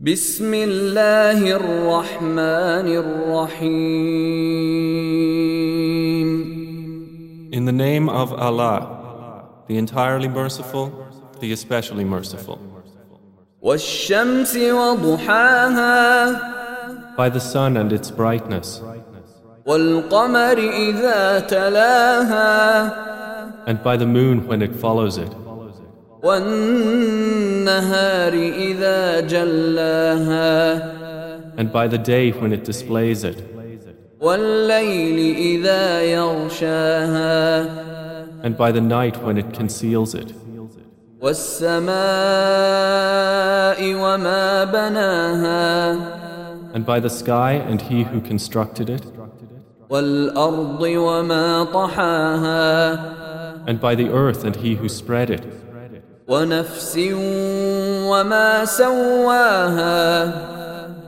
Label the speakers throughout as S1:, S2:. S1: بسم الله الرحمن الرحيم
S2: In the name of Allah, the entirely merciful, the especially merciful.
S1: والشمس وضحاها
S2: By the sun and its brightness,
S1: والقمر إذا تلاها
S2: and by the moon when it follows it,
S1: والنهار إذا جلاها
S2: and by the day when it displays it,
S1: والليل إذا يغشاها
S2: and by the night when it conceals it,
S1: والسماء وما بناها
S2: and by the sky and he who constructed it,
S1: والأرض وما طحاها
S2: and by the earth and he who spread it,
S1: ونفس وما سواها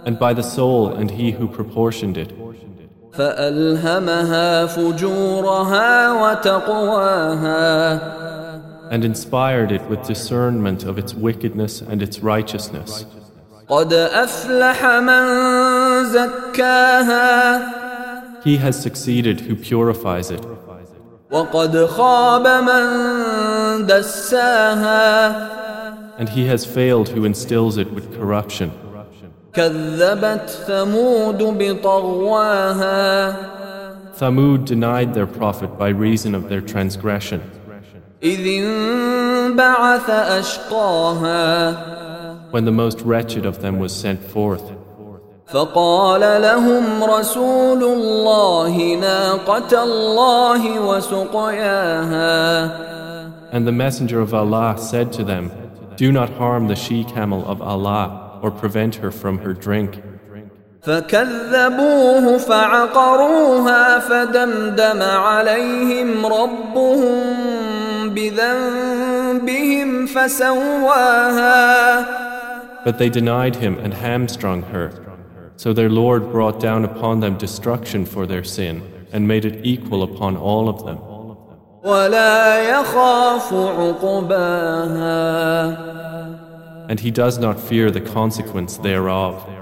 S2: and by the soul and he who proportioned it.
S1: فألهمها فجورها وتقواها
S2: and inspired it with discernment of its wickedness and its righteousness.
S1: قد أفلح من زكاها
S2: He has succeeded who purifies it,
S1: وقد خاب من دساها
S2: and he has failed who instills it with corruption.
S1: كذبت ثمود بطغواها
S2: Thamud denied their prophet by reason of their transgression,
S1: إذ انبعث أشقاها
S2: when the most wretched of them was sent forth.
S1: فقال لهم رسول الله ناقة الله وسقياها
S2: And the Messenger of Allah said to them, Do not harm the she camel of Allah, or prevent her from her drink.
S1: فكذبوه فعقروها فدمدم عليهم ربهم بذنبهم فسواها
S2: But they denied him and hamstrung her. So their Lord brought down upon them destruction for their sin, and made it equal upon all of them.
S1: ولا يخاف عقباها
S2: And he does not fear the consequence thereof.